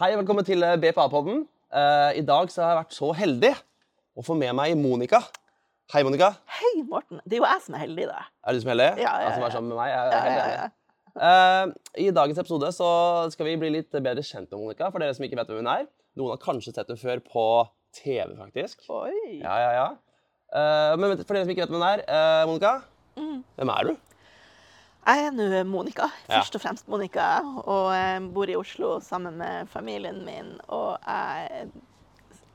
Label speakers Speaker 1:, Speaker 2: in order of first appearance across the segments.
Speaker 1: Hei og velkommen til eh, BPA-podden. Eh, I dag så har jeg vært så heldig å få med meg Monica. Hei, Monica.
Speaker 2: Hei, Morten. Det er jo jeg som er heldig, da.
Speaker 1: Er du som er heldig?
Speaker 2: Ja, ja, ja.
Speaker 1: Jeg som er sammen med meg. Jeg
Speaker 2: Ja,
Speaker 1: er helt
Speaker 2: ja,
Speaker 1: enig.
Speaker 2: ja.
Speaker 1: Eh, I dagens episode så skal vi bli litt bedre kjent med Monica. For dere som ikke vet hvem hun er. Noen har kanskje sett henne før på TV, faktisk.
Speaker 2: Oi.
Speaker 1: Ja, ja, ja. Eh, men for dere som ikke vet hvem hun er, eh, Monica,
Speaker 2: Mm.
Speaker 1: hvem er du?
Speaker 2: Jeg er nå Monica.
Speaker 1: Ja.
Speaker 2: Først og fremst Monica. Og jeg bor i Oslo sammen med familien min. Og jeg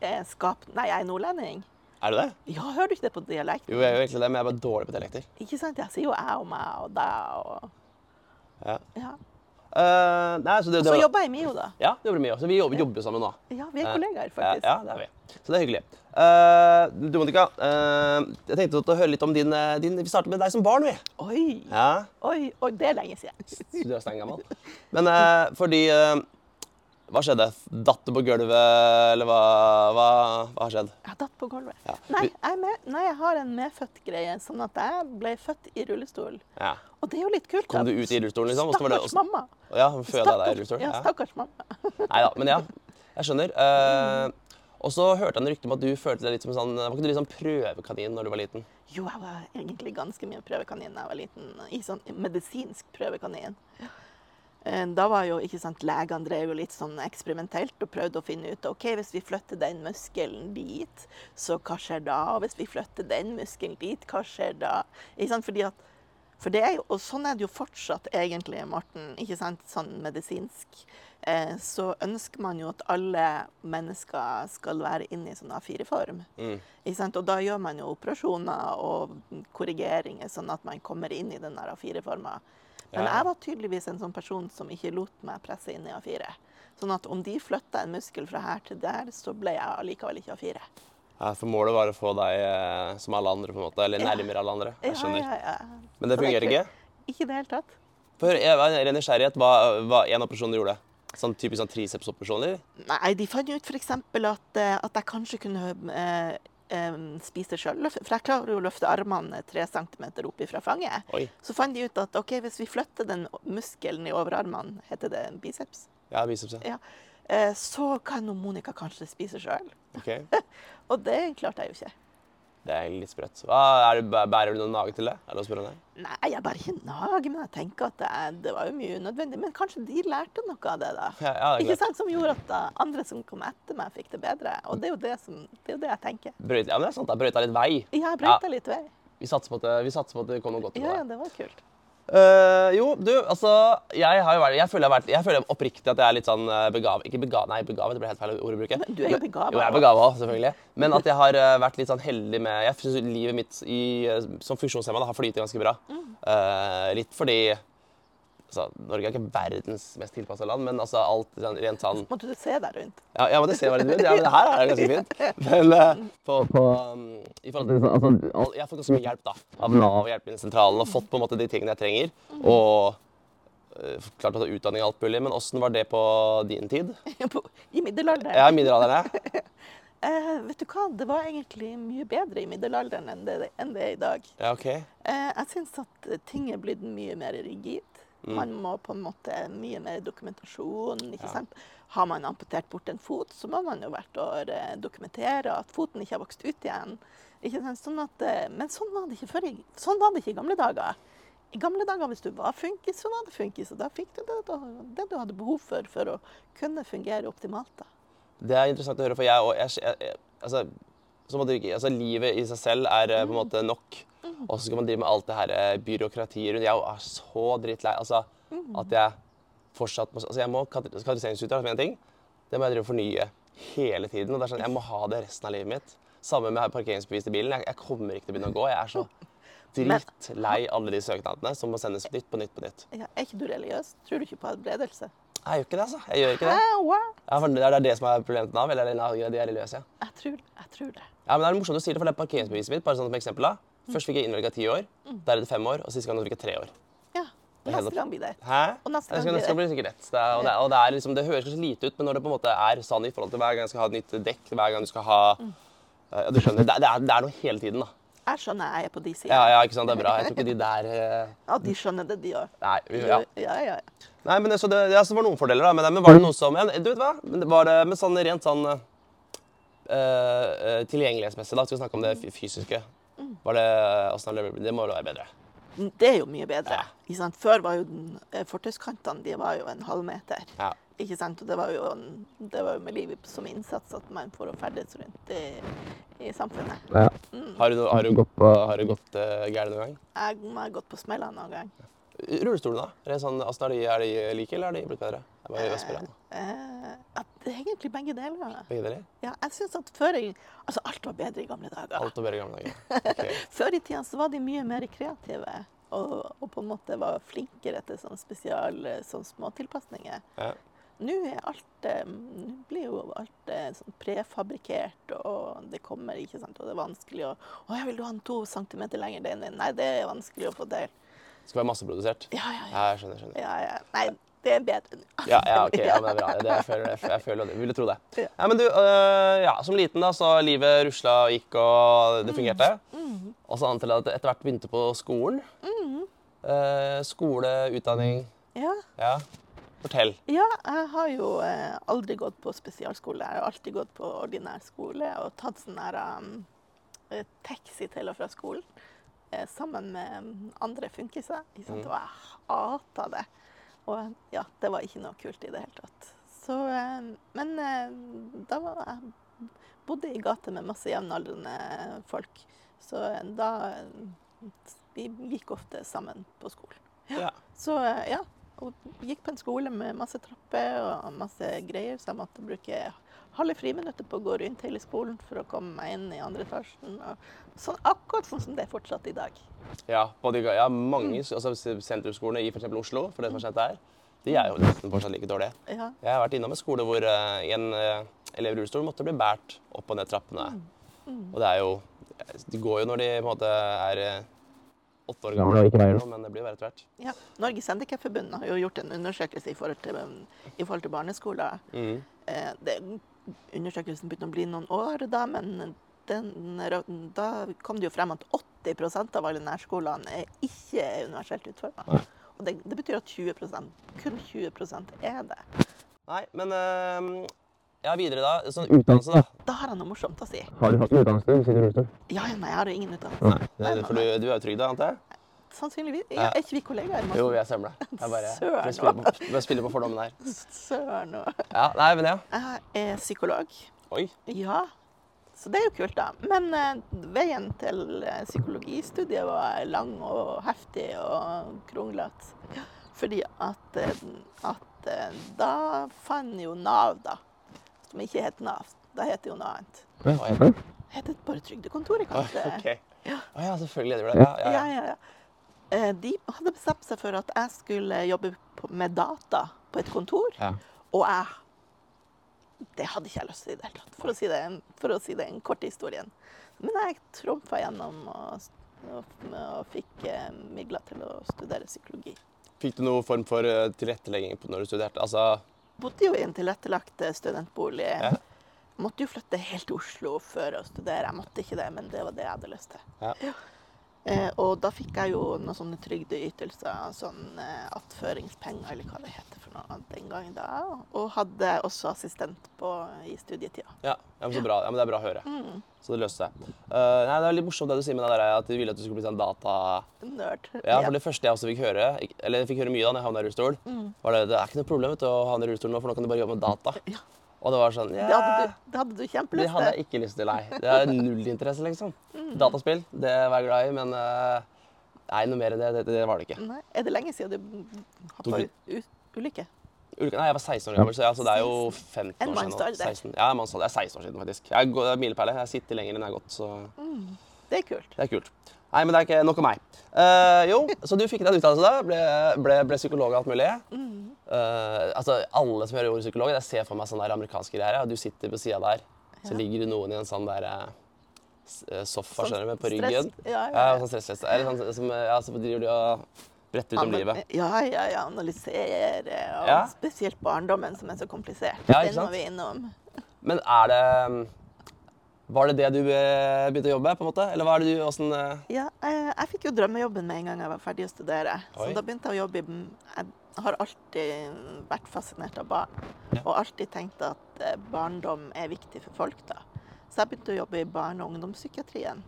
Speaker 2: er skap... Nei, jeg er nordlending.
Speaker 1: Er du det?
Speaker 2: Ja, hører du ikke det på dialekt?
Speaker 1: Jo, jeg er jo egentlig det, men jeg er bare dårlig på dialekter.
Speaker 2: Ikke sant? Jeg sier jo jeg og meg og deg og
Speaker 1: Ja.
Speaker 2: ja.
Speaker 1: Eh, nei, så det, det
Speaker 2: Så
Speaker 1: var-
Speaker 2: jobber jeg i MIO, da.
Speaker 1: Ja, det jobber vi mye også. Vi jobber, jobber sammen nå.
Speaker 2: Ja, vi er
Speaker 1: Eh,
Speaker 2: kollegaer, faktisk.
Speaker 1: Ja, ja, det er vi. Så det er hyggelig. Eh, du, Monica, eh, jeg tenkte å høre litt om din, eh, din Vi starter med deg som barn, vi.
Speaker 2: Oi.
Speaker 1: Ja,
Speaker 2: Oi, oi, det er lenge siden.
Speaker 1: så Du er steingammel. Men eh, fordi eh, Hva skjedde? Datt du på gulvet, eller hva, hva, hva har skjedd?
Speaker 2: Jeg datt på gulvet.
Speaker 1: Ja.
Speaker 2: Nei, jeg er med, nei, jeg har en medfødt greie, sånn at jeg ble født i rullestol.
Speaker 1: Ja.
Speaker 2: Og det er jo litt kult.
Speaker 1: Kom
Speaker 2: at
Speaker 1: du ut i rullestolen, liksom? og så var det-
Speaker 2: Stakkars mamma.
Speaker 1: Ja, føda deg i rullestolen?
Speaker 2: ja,
Speaker 1: Ja.
Speaker 2: stakkars mamma.
Speaker 1: Nei da, men ja. Jeg skjønner. Eh, og så hørte jeg en rykte om at du følte deg litt som en sånn Var ikke du litt sånn prøvekanin når du var liten?
Speaker 2: Jo, jeg var egentlig ganske mye prøvekanin da jeg var liten. I sånn medisinsk prøvekanin. Eh, Da var jo, ikke sant, Legene drev jo litt sånn eksperimentelt og prøvde å finne ut ok, hvis vi flytter den muskelen dit, så hva skjer da? Og hvis vi flytter den muskelen dit, hå skjer da? Ikke sant, fordi at For det er jo, og sånn er det jo fortsatt egentlig, Morten, ikke sant, sånn medisinsk. Eh, så ønsker man jo at alle mennesker skal være inne i sånn A4-form.
Speaker 1: Mm.
Speaker 2: Ikke sant? Og da gjør man jo operasjoner og korrigeringer, sånn at man kommer inn i den der A4-forma. Men
Speaker 1: Ja.
Speaker 2: jeg var tydeligvis en sånn person som ikke lot meg presse inn i A4. Sånn at om de flytta en muskel fra her til der, så ble jeg allikevel ikke A4.
Speaker 1: Ja, for målet var å få deg eh, som alle andre, på en måte. Eller
Speaker 2: Ja.
Speaker 1: nærmere alle andre. Jeg skjønner.
Speaker 2: Ja, ja, ja.
Speaker 1: Men det
Speaker 2: Så er
Speaker 1: fungerer ikke?
Speaker 2: kult. Ikke i det hele tatt.
Speaker 1: For jeg var ren nysgjerrighet. Hva var en operasjon du gjorde? Sånn typisk sånn tricepsoperasjon, eller?
Speaker 2: Nei, de fant jo ut f.eks. At, eh, at jeg kanskje kunne eh, em, spise sjøl. For jeg klarer jo å løfte armene tre centimeter opp ifra fanget.
Speaker 1: Oi.
Speaker 2: Så fant de ut at ok, hvis vi flytter den muskelen i overarmene, heter det biceps,
Speaker 1: Ja, biceps. Ja.
Speaker 2: ja, eh, så kan jo Monica kanskje spise sjøl.
Speaker 1: Ok.
Speaker 2: Og det klarte jeg jo ikke.
Speaker 1: Det er litt sprøtt. Hva, er det, bæ- bærer du noen nage til det? Er det lov å spørre om det?
Speaker 2: Nei, jeg bare ikke nager, men jeg tenker at det, det var jo mye unødvendig. Men kanskje de lærte noe av det, da.
Speaker 1: Ja, ja, det er
Speaker 2: Ikke
Speaker 1: klart.
Speaker 2: sant? Som gjorde at da, andre som kom etter meg, fikk det bedre. Og det er jo det, som, det, er jo det jeg tenker.
Speaker 1: Brøyt, ja, men det er sant. da. Brøyta litt vei.
Speaker 2: Ja, jeg brøyta litt vei.
Speaker 1: Vi satser på at, det- vi satser på at det kommer noe godt ut
Speaker 2: Ja, ja,
Speaker 1: av det.
Speaker 2: det var kult.
Speaker 1: Eh, jo, du, altså Jeg, har jo vært, jeg, føler, jeg, har vært, jeg føler oppriktig at jeg er litt sånn eh, begavet Ikke begavet, nei, begavet, det blir helt feil ord å bruke.
Speaker 2: Men du er jo begavet
Speaker 1: Jo, jeg er
Speaker 2: også.
Speaker 1: begavet også, selvfølgelig. Men at jeg har eh, vært litt sånn heldig med Jeg syns livet mitt i, eh, som funksjonshemma har flytet ganske bra.
Speaker 2: Mm.
Speaker 1: Eh, litt fordi altså, Norge er ikke verdens mest tilpassa land, men altså alt sånn, rent sånn
Speaker 2: Måtte du se deg rundt?
Speaker 1: ja, ja, men det ser veldig ut. Ja, men det her er det ganske fint. Men eh, på, på um, i forhold til, sånn, altså, al- Jeg har fått ganske mye hjelp da, av Nav og Hjelpemiddelsentralen og fått på en måte de tingene jeg trenger. Og eh, klart å ta utdanning og alt mulig, men åssen var det på din tid?
Speaker 2: I middelalderen?
Speaker 1: Jeg er middelalderen, jeg.
Speaker 2: Eh, vet du hva, det var egentlig mye bedre i middelalderen enn det, enn det er i dag.
Speaker 1: Ja, OK.
Speaker 2: Eh, jeg syns at ting er blitt mye mer rigid.
Speaker 1: Mm.
Speaker 2: Man må på en måte mye mer dokumentasjon. ikke sant? Har man amputert bort en fot, så må man jo hvert år eh, dokumentere at foten ikke har vokst ut igjen. Ikke sant? Sånn at, eh, men sånn var, det ikke før i, sånn var det ikke i gamle dager. I gamle dager, Hvis du var funkis, så var det funkis. Og da fikk du det, du- det du hadde behov for for å kunne fungere optimalt. da.
Speaker 1: Det er interessant å høre, for jeg og jeg, jeg, jeg altså, så må du ikke, altså, Livet i seg selv er eh, på en måte nok. Og så skal man drive med alt det her eh, byråkratiet rundt. Jeg er så drittlei altså, at jeg fortsatt må altså, jeg må, kater- Kategoriseringsutøver er en ting. Det må jeg drive og fornye hele tiden. og det er sånn, Jeg må ha det resten av livet mitt. Samme med parkeringsbevis til bilen. Jeg, jeg kommer ikke til å begynne å gå. Jeg er så drittlei alle de søknadene som må sendes nytt på nytt på nytt.
Speaker 2: Ja, er ikke du religiøs? Tror du ikke på helbredelse?
Speaker 1: Jeg gjør ikke det, altså. Jeg gjør ikke det.
Speaker 2: Eh, wow.
Speaker 1: Ja, for det er det er det som er problemet til Nav. eller eller De er religiøse.
Speaker 2: Jeg tror, jeg tror det.
Speaker 1: Ja, men Det er morsomt du sier det, for det er parkeringsbeviset mitt. bare sånn som eksempel da. Først fikk jeg innvilga ti år,
Speaker 2: Mm.
Speaker 1: deretter fem år, og sist gang fikk jeg tre år.
Speaker 2: Ja.
Speaker 1: er helt
Speaker 2: Neste gang blir det.
Speaker 1: Hæ?
Speaker 2: Og neste
Speaker 1: Jeg skal,
Speaker 2: gang blir
Speaker 1: neste gang
Speaker 2: det.
Speaker 1: blir det sikkert rett. Det, er, og det, er, og det, er liksom, det høres kanskje lite ut, men når det på en måte er sånn sann
Speaker 2: Mm.
Speaker 1: i forhold til hver gang jeg skal ha et nytt dekk, hver gang du skal ha ja, Du skjønner, det, er- det, er, det er noe hele tiden, da.
Speaker 2: Jeg skjønner jeg er på de sidene.
Speaker 1: Ja, ja, ikke sant, det er bra. Jeg tror ikke de der eh,
Speaker 2: At de skjønner det, de òg.
Speaker 1: Nei, vi, ja.
Speaker 2: Ja. Ja, ja, ja.
Speaker 1: Nei, men så det, ja, så det var noen fordeler da, med det. Men var det noe som ja, Du vet hva? Men det Var det med sånn rent sånn eh, eh, tilgjengelighetsmessig, da? Skal vi snakke om det
Speaker 2: Mm.
Speaker 1: fy- fysiske? Var det eh, åssen har det blitt? Det må jo være bedre.
Speaker 2: Det er jo mye bedre.
Speaker 1: Ja.
Speaker 2: Ikke sant? Før var jo den- eh, fortauskantene de var jo en halvmeter.
Speaker 1: Ja.
Speaker 2: Ikke sant? Og det var, jo en, det var jo med livet som innsats at man får å ferdes rundt i, i samfunnet.
Speaker 1: Har du, noe- har du gått, har du gått eh, gærent noen gang?
Speaker 2: Jeg må ha gått på smellene noen gang.
Speaker 1: Rullestolene, da? Rent sånn, åssen er de, er de like, eller har de blitt bedre? Jeg bare spør deg nå.
Speaker 2: Eh, at det er egentlig begge deler.
Speaker 1: Begge deler?
Speaker 2: Ja, jeg synes at før i, altså Alt var bedre i gamle dager.
Speaker 1: Alt var bedre i gamle dager. Ok.
Speaker 2: Før i tida så var de mye mer kreative. Og, og på en måte var flinkere til sånn spesial, sånn småtilpasninger.
Speaker 1: Ja.
Speaker 2: Nå er alt eh, Nå blir jo alt eh, sånn prefabrikkert, og det kommer, ikke sant. Og det er vanskelig å Å, jeg vil du ha den to centimeter lenger, den din? Nei, det er vanskelig å få til.
Speaker 1: Det skal være masseprodusert.
Speaker 2: Ja, ja, ja.
Speaker 1: Ja, jeg skjønner. skjønner.
Speaker 2: ja, ja. Nei, det er bedre nå.
Speaker 1: Ja, ja, ok, ja, men det er bra. Det, jeg føler det. Jeg føler det. Ville tro det.
Speaker 2: Ja.
Speaker 1: Ja, men du, øh, ja, som liten da, så livet rusla og gikk, og det fungerte. Og så annet til at det etter hvert begynte på skolen. Eh, skole, utdanning,
Speaker 2: Ja.
Speaker 1: ja. Fortell.
Speaker 2: Ja, jeg har jo eh, aldri gått på spesialskole. Jeg har alltid gått på ordinær skole og tatt sånn her um, eh, taxi til og fra skolen eh, sammen med mm, andre funkiser. Ikke sant? Og jeg hata det. Og ja, det var ikke noe kult i det hele tatt. Så, eh, men eh, da var jeg bodde i gate med masse jevnaldrende folk. Så eh, da eh, Vi gikk ofte sammen på skolen.
Speaker 1: Ja.
Speaker 2: Så eh, ja, og gikk på en skole med masse trapper og masse greier, så jeg måtte bruke halve friminuttet på å gå rundt hele skolen for å komme meg inn i andre etasjen. Og sånn, akkurat sånn som det er fortsatt i dag.
Speaker 1: Ja, på de, ga- ja mange sk- altså, s- sentrumsskolene i for eksempel Oslo, for det som har skjedd der, de er jo nesten fortsatt like dårlige.
Speaker 2: Ja,
Speaker 1: Jeg har vært innom en skole hvor eh, en eh, elev i rullestol måtte bli båret opp og ned trappene. Og det er jo De går jo når de på en måte er eh, åtte år gamle og ikke veier noe, men det blir jo verre etter hvert.
Speaker 2: ja. Norges Handikapforbund har jo gjort en undersøkelse i forhold til, i forhold til barneskoler.
Speaker 1: Mhm.
Speaker 2: Eh, det, undersøkelsen begynte å bli noen år da, men den, da kom det jo frem at 80 av alle nærskolene er ikke universelt utforma. Og det, det betyr at 20 kun 20 er det.
Speaker 1: Nei, men eh, ja, videre da. Sånn utdannelse, da.
Speaker 2: Da har jeg noe morsomt å si.
Speaker 1: Har du hatt en utdannelse siden rullestol?
Speaker 2: Ja, ja, nei, jeg har jo ingen utdannelse.
Speaker 1: Nei. Det, er- Eh, for du, du er jo trygd, da, antar jeg?
Speaker 2: Sannsynligvis. Ja,
Speaker 1: Ja.
Speaker 2: er ikke vi kollegaer? Morten?
Speaker 1: Jo, vi er semla. Jeg bare
Speaker 2: Søren,
Speaker 1: jeg spiller, på, jeg spiller på fordommen her.
Speaker 2: Søren og
Speaker 1: Ja, nei, men ja.
Speaker 2: Jeg er psykolog.
Speaker 1: Oi.
Speaker 2: Ja. Så det er jo kult, da. Men eh, veien til eh, psykologistudiet var lang og heftig og kronglete. Fordi at, eh, at eh, da fant jo Nav, da. Som ikke het Nav. Da het det jo noe annet.
Speaker 1: Hva heter det?
Speaker 2: Het det bare Trygdekontoret, kanskje?
Speaker 1: Ah, Ok. Å ja, selvfølgelig heter det det. Ja, ja,
Speaker 2: ja,
Speaker 1: ja.
Speaker 2: ja, ja. Eh, De hadde bestemt seg for at jeg skulle jobbe på- med data på et kontor,
Speaker 1: Ja.
Speaker 2: og jeg Det hadde ikke jeg lyst til i det hele tatt, for å si det, for å si det en kort historien. Men jeg trumfa gjennom og, s- og, og fikk eh, midler til å studere psykologi.
Speaker 1: Fikk du noen form for eh, tilrettelegging på når du studerte? Altså
Speaker 2: Bodde jo i en tilrettelagt eh, studentbolig.
Speaker 1: Ja.
Speaker 2: Måtte jo flytte helt til Oslo for å studere. Jeg måtte ikke det, men det var det jeg hadde lyst til.
Speaker 1: Ja.
Speaker 2: Eh, og da fikk jeg jo noen sånne trygdeytelser, sånn eh, attføringspenger eller hva det heter for noe den gangen da. Og hadde også assistent på, i studietida.
Speaker 1: Ja, ja, men så bra. Ja, men det er bra å høre.
Speaker 2: Mm.
Speaker 1: Så det løste seg. Eh, nei, det er litt morsomt det du sier med det der, at du ville at du skulle bli sånn data...
Speaker 2: Nerd.
Speaker 1: Ja, for det første jeg også fikk høre, ikk- eller jeg fikk høre mye da når jeg havna i rullestol,
Speaker 2: Mm.
Speaker 1: var det det er ikke noe problem vet du, å havne i rullestol nå, for nå kan du bare jobbe med data.
Speaker 2: Ja.
Speaker 1: Og det var sånn
Speaker 2: det,
Speaker 1: ja,
Speaker 2: hadde du, det Mm. hadde du
Speaker 1: Det
Speaker 2: kjempelyst
Speaker 1: hadde
Speaker 2: til.
Speaker 1: jeg ikke lyst til, nei. Det er null interesse, liksom. Dataspill, det var jeg glad i, men eh, nei, noe mer enn det, det, det var det ikke.
Speaker 2: Nei, Er det lenge siden du
Speaker 1: To-
Speaker 2: hoppa ulykke?
Speaker 1: Ulike- Nei, jeg var 16 år gammel, så altså, det er jo 15 år
Speaker 2: En
Speaker 1: siden. nå.
Speaker 2: mannsalder.
Speaker 1: 16, ja, en mannsalder. Det er 16 år siden, faktisk. Jeg går, det er milepæle. Jeg sitter lenger enn jeg har gått, så
Speaker 2: Det er kult.
Speaker 1: Det er kult. Nei, men det er ikke nok om meg. Eh, jo, så du fikk deg en utdannelse da. Ble, ble, ble psykolog og alt mulig.
Speaker 2: Mm.
Speaker 1: Eh, altså, alle som hører ordet psykolog, jeg ser for meg sånne der amerikanske greier. ja. Du sitter på sida der, så ligger det noen i en sånn der eh, s- eh, sofa,
Speaker 2: Sånn
Speaker 1: skjønner du, med på
Speaker 2: stress-
Speaker 1: ryggen.
Speaker 2: ja, ja, ja.
Speaker 1: sånn stressless. Eller sånn som eh, ja, så driver de og bretter ut om
Speaker 2: Ana-
Speaker 1: livet.
Speaker 2: Ja, ja, ja. Analysere. Og
Speaker 1: Ja.
Speaker 2: spesielt barndommen, som er så komplisert.
Speaker 1: Ja, ikke
Speaker 2: Den må
Speaker 1: sant?
Speaker 2: vi innom.
Speaker 1: Men er det mm, Var det det du eh, begynte å jobbe med, på en måte? Eller hva er det du, hvordan, eh,
Speaker 2: Ja, eh, jeg fikk jo drømmejobben med en gang jeg var ferdig å studere.
Speaker 1: Oi.
Speaker 2: Så da begynte jeg å jobbe i Jeg har alltid vært fascinert av barn.
Speaker 1: Ja.
Speaker 2: Og alltid tenkt at eh, barndom er viktig for folk, da. Så jeg begynte å jobbe i barne- og ungdomspsykiatrien.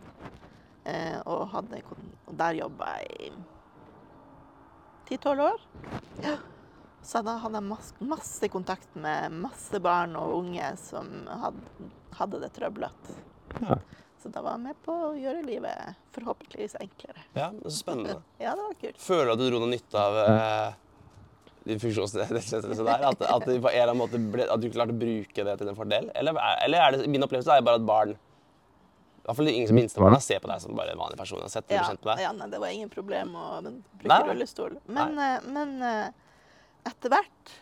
Speaker 2: Eh, og, hadde, kon- og der jobba jeg i 10-12 år. Ja. Så da hadde jeg masse, masse kontakt med masse barn og unge som hadde, hadde det trøblete.
Speaker 1: Ja.
Speaker 2: Så da var jeg med på å gjøre livet forhåpentligvis enklere.
Speaker 1: Ja, men så spennende.
Speaker 2: Ja, det var kult.
Speaker 1: Føler du at du dro noe nytte av eh, de funksjonsnedsettelsene der? At, at, det på en eller annen måte ble, at du klarte å bruke det til en fordel? Eller, er- eller er det, min opplevelse er jo bare at barn i hvert fall de yngste minstebarna ser på deg som bare en vanlig person. har sett og
Speaker 2: Ja,
Speaker 1: blitt kjent med deg.
Speaker 2: ja nei, det var ingen problem å men, bruke
Speaker 1: Nei.
Speaker 2: rullestol. Men, eh, men eh, etter hvert,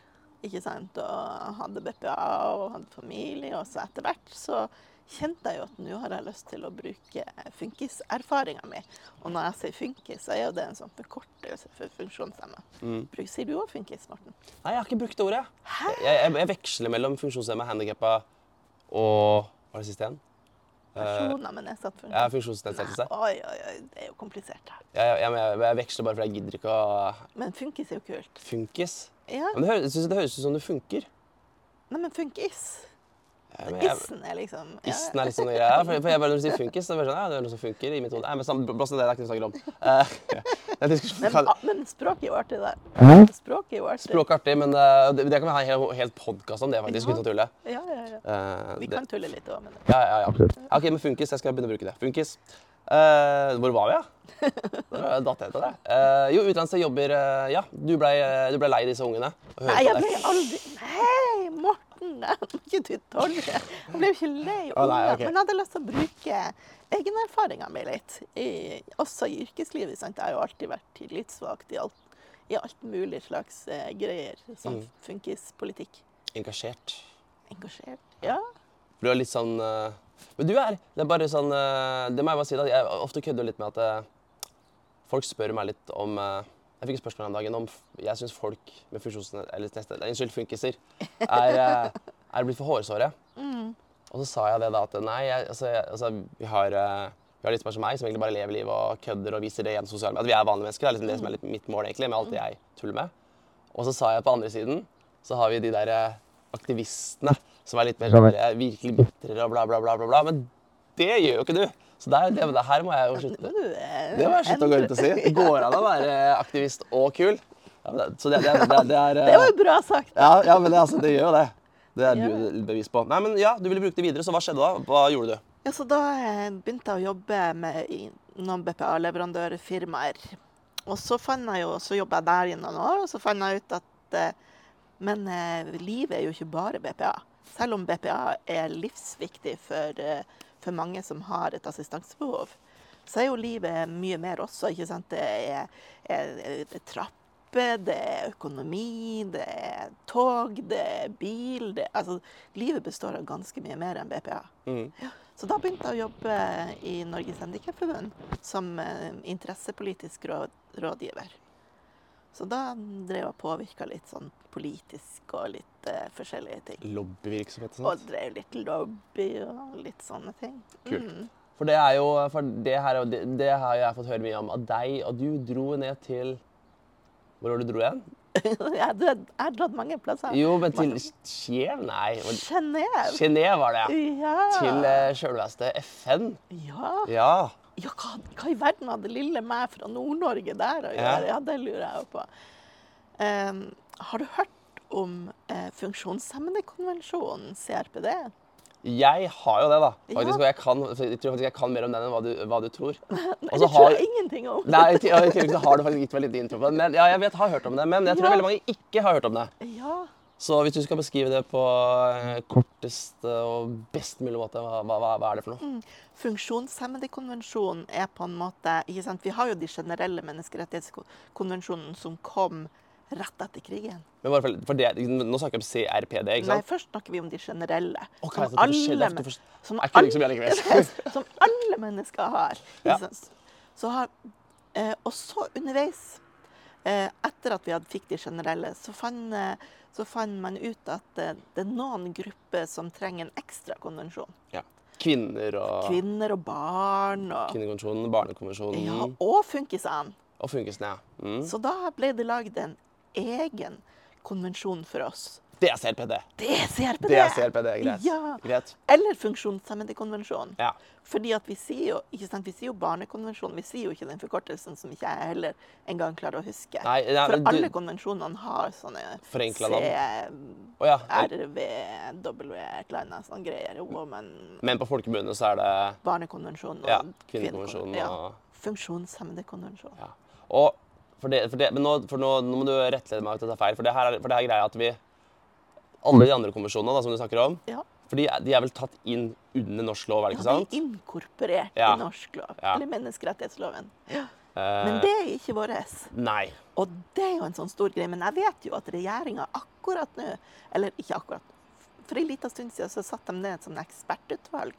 Speaker 2: ikke sant, og hadde BPA og hadde familie, og så etter hvert så kjente jeg jo at nå har jeg lyst til å bruke funkiserfaringa mi. Og når jeg sier funkis, så er jo det en sånn forkortelse for funksjonshemma.
Speaker 1: Mm.
Speaker 2: Bruk- Sier du òg funkis, Morten?
Speaker 1: Nei, jeg har ikke brukt det ordet. jeg.
Speaker 2: Hæ?
Speaker 1: Jeg, jeg, jeg veksler mellom funksjonshemma, handikappa og Hva var det siste igjen? Eh,
Speaker 2: Personer med nedsatt
Speaker 1: jeg har
Speaker 2: funksjon?
Speaker 1: funksjonsnedsettelse.
Speaker 2: Oi, oi, oi, det er jo komplisert her.
Speaker 1: Jeg, jeg, jeg, jeg, jeg veksler bare fordi jeg gidder ikke å eh,
Speaker 2: Men funkis er jo kult.
Speaker 1: Funkis?
Speaker 2: Ja,
Speaker 1: Men det høres, jeg synes det høres ut som det funker.
Speaker 2: nei, men funkis
Speaker 1: Ja, men jeg-
Speaker 2: Issen er liksom ja.
Speaker 1: Isten er litt sånn greia. For, for jeg bare, når du sier funkis, så er det bare sånn, ja, det er noe som funker i mitt hode. Nei, men samme, blås ned det, det er ikke noe vi snakker om. Eh, det er diskusjon-
Speaker 2: Men, ah, men språk er jo artig, da. Språk er jo artig.
Speaker 1: Språk er artig, men eh, det, det kan vi ha en hel, helt podkast om det, faktisk,
Speaker 2: Ja.
Speaker 1: uten å tulle.
Speaker 2: Ja, ja, ja.
Speaker 1: Eh,
Speaker 2: Vi
Speaker 1: det,
Speaker 2: kan tulle litt òg, men
Speaker 1: ja, ja, ja. Ja, OK, men funkis, jeg skal begynne å bruke det. Funkis. Eh, hvor var vi, ja? Da datt jeg ut av det. Eh, jo, utenlands jeg jobber eh, Ja, du blei eh, du ble lei disse ungene. og hører
Speaker 2: Nei,
Speaker 1: på
Speaker 2: jeg
Speaker 1: det.
Speaker 2: ble aldri Nei, Morten! da var ikke du tolv? Jeg ble jo ikke lei
Speaker 1: Å, nei,
Speaker 2: ungene,
Speaker 1: ok.
Speaker 2: Men jeg hadde lyst til å bruke egenerfaringa mi litt. I, også i yrkeslivet. Sant? Jeg har jo alltid vært tillitsvalgt i alt, i alt mulig slags eh, greier. Sånn
Speaker 1: Mm.
Speaker 2: funkispolitikk.
Speaker 1: Engasjert.
Speaker 2: Engasjert. Ja.
Speaker 1: For du er litt sånn eh, Men du er Det er bare sånn eh, Det må jeg bare si, da. Jeg ofte kødder litt med at eh, folk spør meg litt om eh, Jeg fikk et spørsmål her om dagen om f- jeg syns folk med funksjonsned... Eller neste, nei, unnskyld, funkiser er, eh, er blitt for hårsåre.
Speaker 2: Mm.
Speaker 1: Og så sa jeg det da at nei, jeg, altså, jeg, altså vi har eh, vi har litt som meg, som egentlig bare lever livet og kødder og viser det igjen sosiale medier. At vi er vanlige mennesker. Det er liksom det som er litt mitt mål egentlig, med alt det jeg tuller med. Og så sa jeg på andre siden, så har vi de der eh, aktivistene som er litt mer sånn eh, virkelig bitrere og bla, bla, bla, bla, bla. Men det gjør jo ikke du. Så der, det, det her må jeg jo
Speaker 2: Nå
Speaker 1: slutte.
Speaker 2: må du eh,
Speaker 1: Det må jeg slutte å gå rundt og si. Det går an å være aktivist og kul. Ja, men det, så det, det, det, det er eh,
Speaker 2: Det var jo bra sagt.
Speaker 1: ja, ja, men det, altså, det gjør jo det. Det er
Speaker 2: Ja.
Speaker 1: du bevis på. Nei, men ja, Du ville bruke det videre, så hva skjedde da? Hva gjorde du?
Speaker 2: Ja, så da eh, begynte jeg å jobbe med i noen BPA-leverandørfirmaer. Og så fant jeg jo, så jobba jeg der i noen år, og så fant jeg ut at eh, Men eh, livet er jo ikke bare BPA. Selv om BPA er livsviktig for, eh, for mange som har et assistansebehov, så er jo livet mye mer også, ikke sant. Det er, er, det er trapper, det er økonomi, det er tog, det er bil. Det, altså, livet består av ganske mye mer enn BPA.
Speaker 1: Mm.
Speaker 2: Så da begynte jeg å jobbe i Norges Handikapforbund som eh, interessepolitisk råd, rådgiver. Så da drev jeg og påvirka litt sånn politisk og litt eh, forskjellige ting.
Speaker 1: Lobbyvirksomhet og
Speaker 2: Og
Speaker 1: sånt.
Speaker 2: drev litt lobby og litt sånne ting.
Speaker 1: Kult.
Speaker 2: Mm.
Speaker 1: For det er jo for det her, er jo- det, det har jeg fått høre mye om av deg, og du dro ned til Hvor var det du dro igjen?
Speaker 2: jeg har dratt- jeg har dratt mange plasser.
Speaker 1: Jo, men til Kiev? Nei. var-
Speaker 2: Genéve.
Speaker 1: Genéve var det, ja.
Speaker 2: Ja.
Speaker 1: Til eh, sjølveste FN.
Speaker 2: ja.
Speaker 1: Ja.
Speaker 2: Ja, hva, hva i verden hadde lille meg fra Nord-Norge der å
Speaker 1: Ja.
Speaker 2: gjøre? Ja, det lurer jeg jo på. Em, har du hørt om eh, funksjonshemmedekonvensjonen, CRPD?
Speaker 1: Jeg har jo det, da. Faktisk,
Speaker 2: Ja.
Speaker 1: Og jeg, kan, jeg tror faktisk jeg kan mer om den enn hva du, hva du tror. Og
Speaker 2: det
Speaker 1: så
Speaker 2: tror
Speaker 1: Altså, har,
Speaker 2: jeg ingenting om.
Speaker 1: nei, i til- og i tillegg så har du faktisk gitt meg litt intro på det. Men, ja, jeg vet, har hørt om det, men jeg tror
Speaker 2: Ja.
Speaker 1: veldig mange ikke har hørt om det.
Speaker 2: Ja,
Speaker 1: Så hvis du skal beskrive det på eh, kortest og best mulig måte, hva, hva, hva er det for
Speaker 2: Mm.
Speaker 1: noe?
Speaker 2: Funksjonshemmedekonvensjonen er på en måte ikke sant? Vi har jo de generelle menneskerettighetskonvensjonene som kom rett etter krigen.
Speaker 1: Men bare for, for det, Nå snakker jeg om CRPD, ikke
Speaker 2: Nei,
Speaker 1: sant?
Speaker 2: først snakker vi om de generelle.
Speaker 1: Ok, så
Speaker 2: som
Speaker 1: det er forskjellig,
Speaker 2: men-
Speaker 1: det er forsk-
Speaker 2: som
Speaker 1: Er ikke
Speaker 2: alle-
Speaker 1: liksom jeg likevel.
Speaker 2: som alle mennesker har. ikke
Speaker 1: Ja.
Speaker 2: sant? Så har eh, og så underveis, eh, etter at vi hadde fikk de generelle, så fant eh, så fant man ut at eh, det er noen grupper som trenger en ekstra konvensjon.
Speaker 1: Ja. kvinner og
Speaker 2: Kvinner og barn og
Speaker 1: Kvinnekonvensjonen, Barnekonvensjonen
Speaker 2: ja, Og funkisene.
Speaker 1: og funkisene. Ja. Mm.
Speaker 2: Så da ble det lagd en egen konvensjon for oss.
Speaker 1: Det er CRPD.
Speaker 2: Det er CRPD!
Speaker 1: Det er CRPD, greit.
Speaker 2: Ja.
Speaker 1: greit.
Speaker 2: Eller funksjonshemmedekonvensjonen.
Speaker 1: Ja.
Speaker 2: Fordi at vi sier jo, ikke sant, vi sier jo barnekonvensjonen, vi sier jo ikke den forkortelsen som ikke jeg heller engang klarer å huske.
Speaker 1: Nei, nei,
Speaker 2: For
Speaker 1: men du-
Speaker 2: alle konvensjonene har sånne
Speaker 1: Forenkla
Speaker 2: C,
Speaker 1: Å ja.
Speaker 2: RV, W, et eller annet sånne greier. Woman,
Speaker 1: Men på folkemunne så er det
Speaker 2: barnekonvensjonen og
Speaker 1: ja, kvinnekonvensjonen
Speaker 2: ja.
Speaker 1: og
Speaker 2: Funksjonshemmedekonvensjonen.
Speaker 1: Ja. Og for det, for det, men nå, for nå, nå må du rettlede meg hvis dette er feil, for det her er, for det her er greia at vi Alle de andre konvensjonene da, som du snakker om,
Speaker 2: Ja.
Speaker 1: for de, er- de er vel tatt inn under norsk lov, er det
Speaker 2: Ja,
Speaker 1: ikke
Speaker 2: de
Speaker 1: sant?
Speaker 2: er inkorporert
Speaker 1: Ja.
Speaker 2: i norsk lov,
Speaker 1: Ja.
Speaker 2: eller menneskerettighetsloven. Ja.
Speaker 1: Eh,
Speaker 2: Men det er ikke vårt.
Speaker 1: Nei.
Speaker 2: Og det er jo en sånn stor greie. Men jeg vet jo at regjeringa akkurat nå, eller ikke akkurat, for en liten stund siden så satte de ned et sånn ekspertutvalg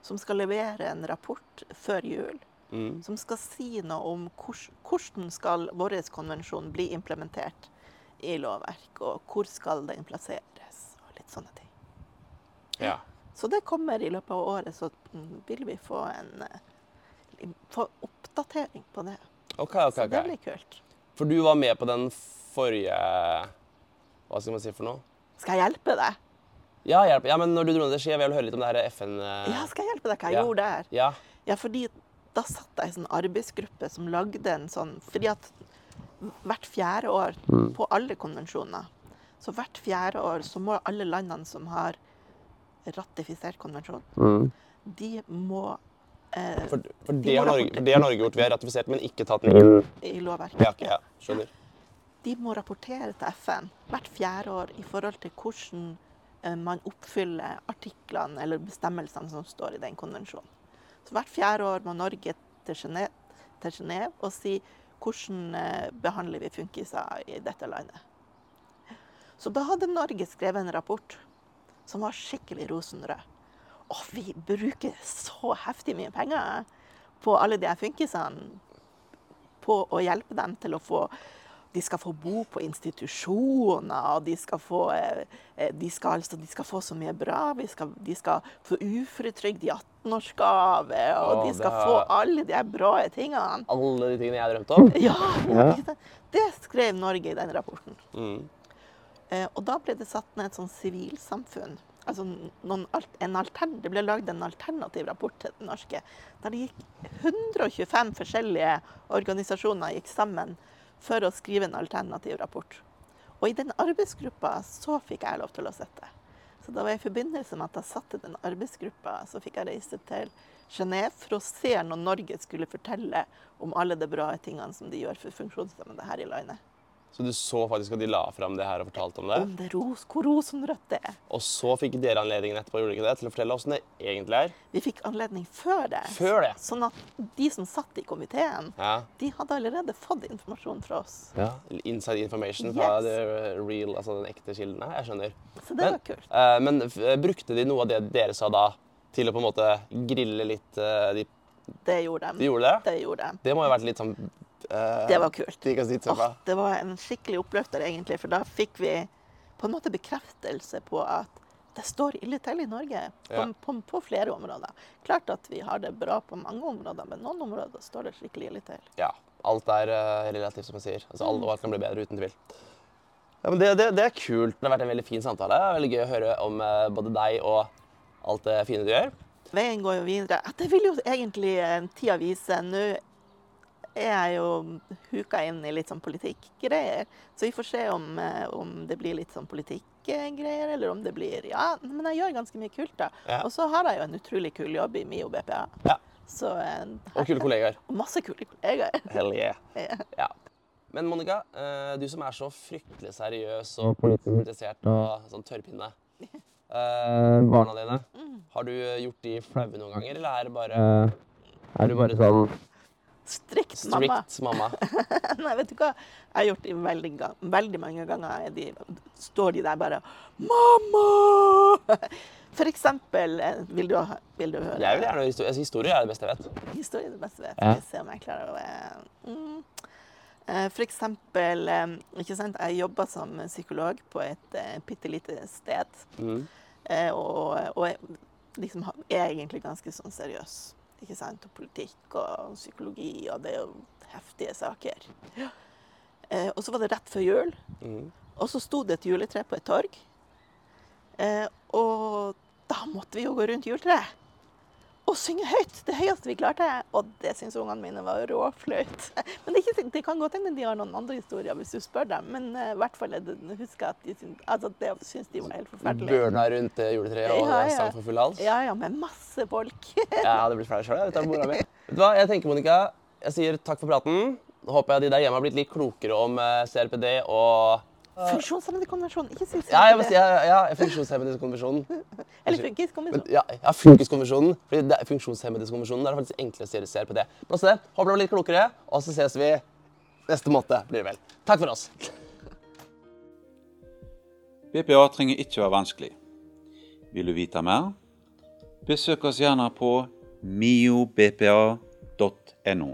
Speaker 2: som skal levere en rapport før jul.
Speaker 1: Mm.
Speaker 2: Som skal si noe om hvordan- hvordan skal vår konvensjon bli implementert i lovverk, og hvor skal den plasseres, og litt sånne ting.
Speaker 1: Ja.
Speaker 2: Så det kommer i løpet av året, så mm, vil vi få en eh, få oppdatering på det.
Speaker 1: OK, OK.
Speaker 2: Så det
Speaker 1: ok.
Speaker 2: blir kult.
Speaker 1: For du var med på den forrige Hva skal man si for noe?
Speaker 2: Skal jeg hjelpe deg?
Speaker 1: Ja, hjelp. Ja, men når du dro ned til Ski, jeg vil høre litt om det her FN... eh,
Speaker 2: Ja, skal jeg hjelpe deg hva jeg
Speaker 1: Ja.
Speaker 2: gjorde der?
Speaker 1: ja.
Speaker 2: Ja, fordi da satt jeg i en sånn arbeidsgruppe som lagde en sånn Fordi at hvert fjerde år
Speaker 1: Mm.
Speaker 2: på alle konvensjoner Så hvert fjerde år så må alle landene som har ratifisert konvensjonen,
Speaker 1: Mm.
Speaker 2: de må eh,
Speaker 1: For, for,
Speaker 2: De
Speaker 1: det har
Speaker 2: må
Speaker 1: Norge,
Speaker 2: rapportere.
Speaker 1: for det har Norge gjort. Vi har ratifisert, men ikke tatt den inn.
Speaker 2: i lovverket
Speaker 1: Ja, ok, ja. Skjønner.
Speaker 2: De må rapportere til FN hvert fjerde år i forhold til hvordan eh, man oppfyller artiklene eller bestemmelsene som står i den konvensjonen. Så hvert fjerde år må Norge til Gene- til Genève og si hvordan eh, behandler vi funkiser i dette landet. Så da hadde Norge skrevet en rapport som var skikkelig rosenrød. Og vi bruker så heftig mye penger på alle de her funkisene på å hjelpe dem til å få De skal få bo på institusjoner, og de skal få, eh, eh, de skal, altså, de skal få så mye bra. Vi skal, de skal få uføretrygd i 18-årsgave,
Speaker 1: Å,
Speaker 2: og de
Speaker 1: det
Speaker 2: skal
Speaker 1: er-
Speaker 2: få alle de her bra tingene.
Speaker 1: Alle de tingene jeg drømte om.
Speaker 2: Ja, ikke sant? Det skrev Norge i den rapporten.
Speaker 1: Mm.
Speaker 2: Eh, og da ble det satt ned et sånn sivilsamfunn. Altså noen, alt- en altern, det ble lagd en alternativ rapport til den norske, der det gikk 125 forskjellige organisasjoner gikk sammen for å skrive en alternativ rapport. Og i den arbeidsgruppa så fikk jeg lov til å sitte. Så da var jeg i forbindelse med at jeg satt i den arbeidsgruppa, så fikk jeg reise til Genève for å se når Norge skulle fortelle om alle de bra tingene som de gjør for funksjonshemmede her i landet.
Speaker 1: Så du så faktisk at de la fram det her og fortalte om det?
Speaker 2: Om det ros, hvor rosenrødt det er.
Speaker 1: Og så fikk dere anledningen etterpå gjorde dere ikke det, til å fortelle åssen det egentlig er?
Speaker 2: Vi fikk anledning før det.
Speaker 1: Før det?
Speaker 2: Sånn at de som satt i komiteen,
Speaker 1: Ja.
Speaker 2: de hadde allerede fått informasjon fra oss.
Speaker 1: Inside information fra
Speaker 2: Yes.
Speaker 1: the real, altså den ekte kilden her. Jeg skjønner.
Speaker 2: Så det var kult.
Speaker 1: eh, men f- eh, brukte de noe av det dere sa da, til å på en måte grille litt eh, de,
Speaker 2: Det gjorde de.
Speaker 1: de gjorde det?
Speaker 2: Det gjorde de.
Speaker 1: Det må jo ha vært litt sånn eh,
Speaker 2: Det var kult.
Speaker 1: digg å si til
Speaker 2: Åh,
Speaker 1: meg.
Speaker 2: det var en skikkelig oppløfter, egentlig, for da fikk vi på en måte bekreftelse på at det står ille til i Norge på,
Speaker 1: Ja.
Speaker 2: på, på flere områder. Klart at vi har det bra på mange områder, men noen områder står det skikkelig ille til.
Speaker 1: Ja. Alt er eh, relativt, som jeg sier. Altså, alt,
Speaker 2: Mm.
Speaker 1: og alt kan bli bedre, uten tvil. Ja, men det, det, det er kult. Det har vært en veldig fin samtale. Det er Veldig gøy å høre om eh, både deg og alt det fine du gjør.
Speaker 2: Veien går jo videre. Ja, Det vil jo egentlig eh, tida vise. Nå er jeg jo huka inn i litt sånn politikkgreier, så vi får se om, eh, om det blir litt sånn politikkgreier, eller om det blir Ja, men jeg gjør ganske mye kult, da.
Speaker 1: Ja.
Speaker 2: Og så har jeg jo en utrolig kul jobb i MIO BPA.
Speaker 1: Ja.
Speaker 2: Så eh, her-
Speaker 1: Og kule kollegaer.
Speaker 2: og masse kule kollegaer.
Speaker 1: Hell yeah.
Speaker 2: Ja.
Speaker 1: Ja. Men Monica, eh, du som er så fryktelig seriøs og politisk interessert og sånn tørrpinne. Eh, barna dine,
Speaker 2: Mm.
Speaker 1: har du gjort de flaue noen ganger, eller er det bare eh, Er du bare sånn
Speaker 2: Strikt, mamma.
Speaker 1: strict mamma?
Speaker 2: Nei, vet du hva? Jeg har gjort det veldig, ga- veldig mange ganger. De, står de der bare 'Mamma!' For eksempel eh, Vil du, ha- vil du høre
Speaker 1: Jeg vil gjerne høre historie. Altså, historie er det beste jeg vet.
Speaker 2: historie det beste vet?
Speaker 1: Ja.
Speaker 2: Skal vi se om jeg klarer å eh, mm. Eh, For eksempel eh, ikke sant? Jeg jobba som psykolog på et bitte lite eh, sted.
Speaker 1: Mm.
Speaker 2: Eh, Og, og jeg- liksom ha- er egentlig ganske sånn seriøs. Ikke sant? Og politikk og psykologi, og det er jo heftige saker. Eh, og så var det rett før jul,
Speaker 1: Mhm.
Speaker 2: og så sto det et juletre på et torg. Eh, og da måtte vi jo gå rundt juletreet. Og synge høyt! Det høyeste vi klarte. Og det syns ungene mine var råflaut. Men det, er ikke, sikkert- det kan godt hende de har noen andre historier, hvis du spør dem. Men eh, i hvert fall er det, husker jeg at de syns, altså, det syns de var helt forferdelig.
Speaker 1: Burna rundt det juletreet og
Speaker 2: Ja, ja.
Speaker 1: sang for full hals.
Speaker 2: Ja, ja, med masse folk.
Speaker 1: Jeg hadde blitt flau sjøl vet du, av mora mi. Vet du hva, jeg tenker, Monica, jeg sier takk for praten. Håper jeg de der hjemme har blitt litt klokere om eh, CRPD og
Speaker 2: Funksjonshemmede konvensjon, ikke si
Speaker 1: Ja, jeg må si, ja, ja, ja, funksjonshemmedeskonvensjonen.
Speaker 2: Eller funkiskonvensjon.
Speaker 1: Ja, ja Funkiskonvensjonen. Fordi det er Funksjonshemmedeskonvensjonen det er faktisk enklere å si CRPD. Men også det, håper dere var litt klokere, og så ses vi neste måned, blir det vel. Takk for oss.
Speaker 3: BPA trenger ikke være vanskelig. Vil du vite mer? Besøk oss gjerne på miobpa.no.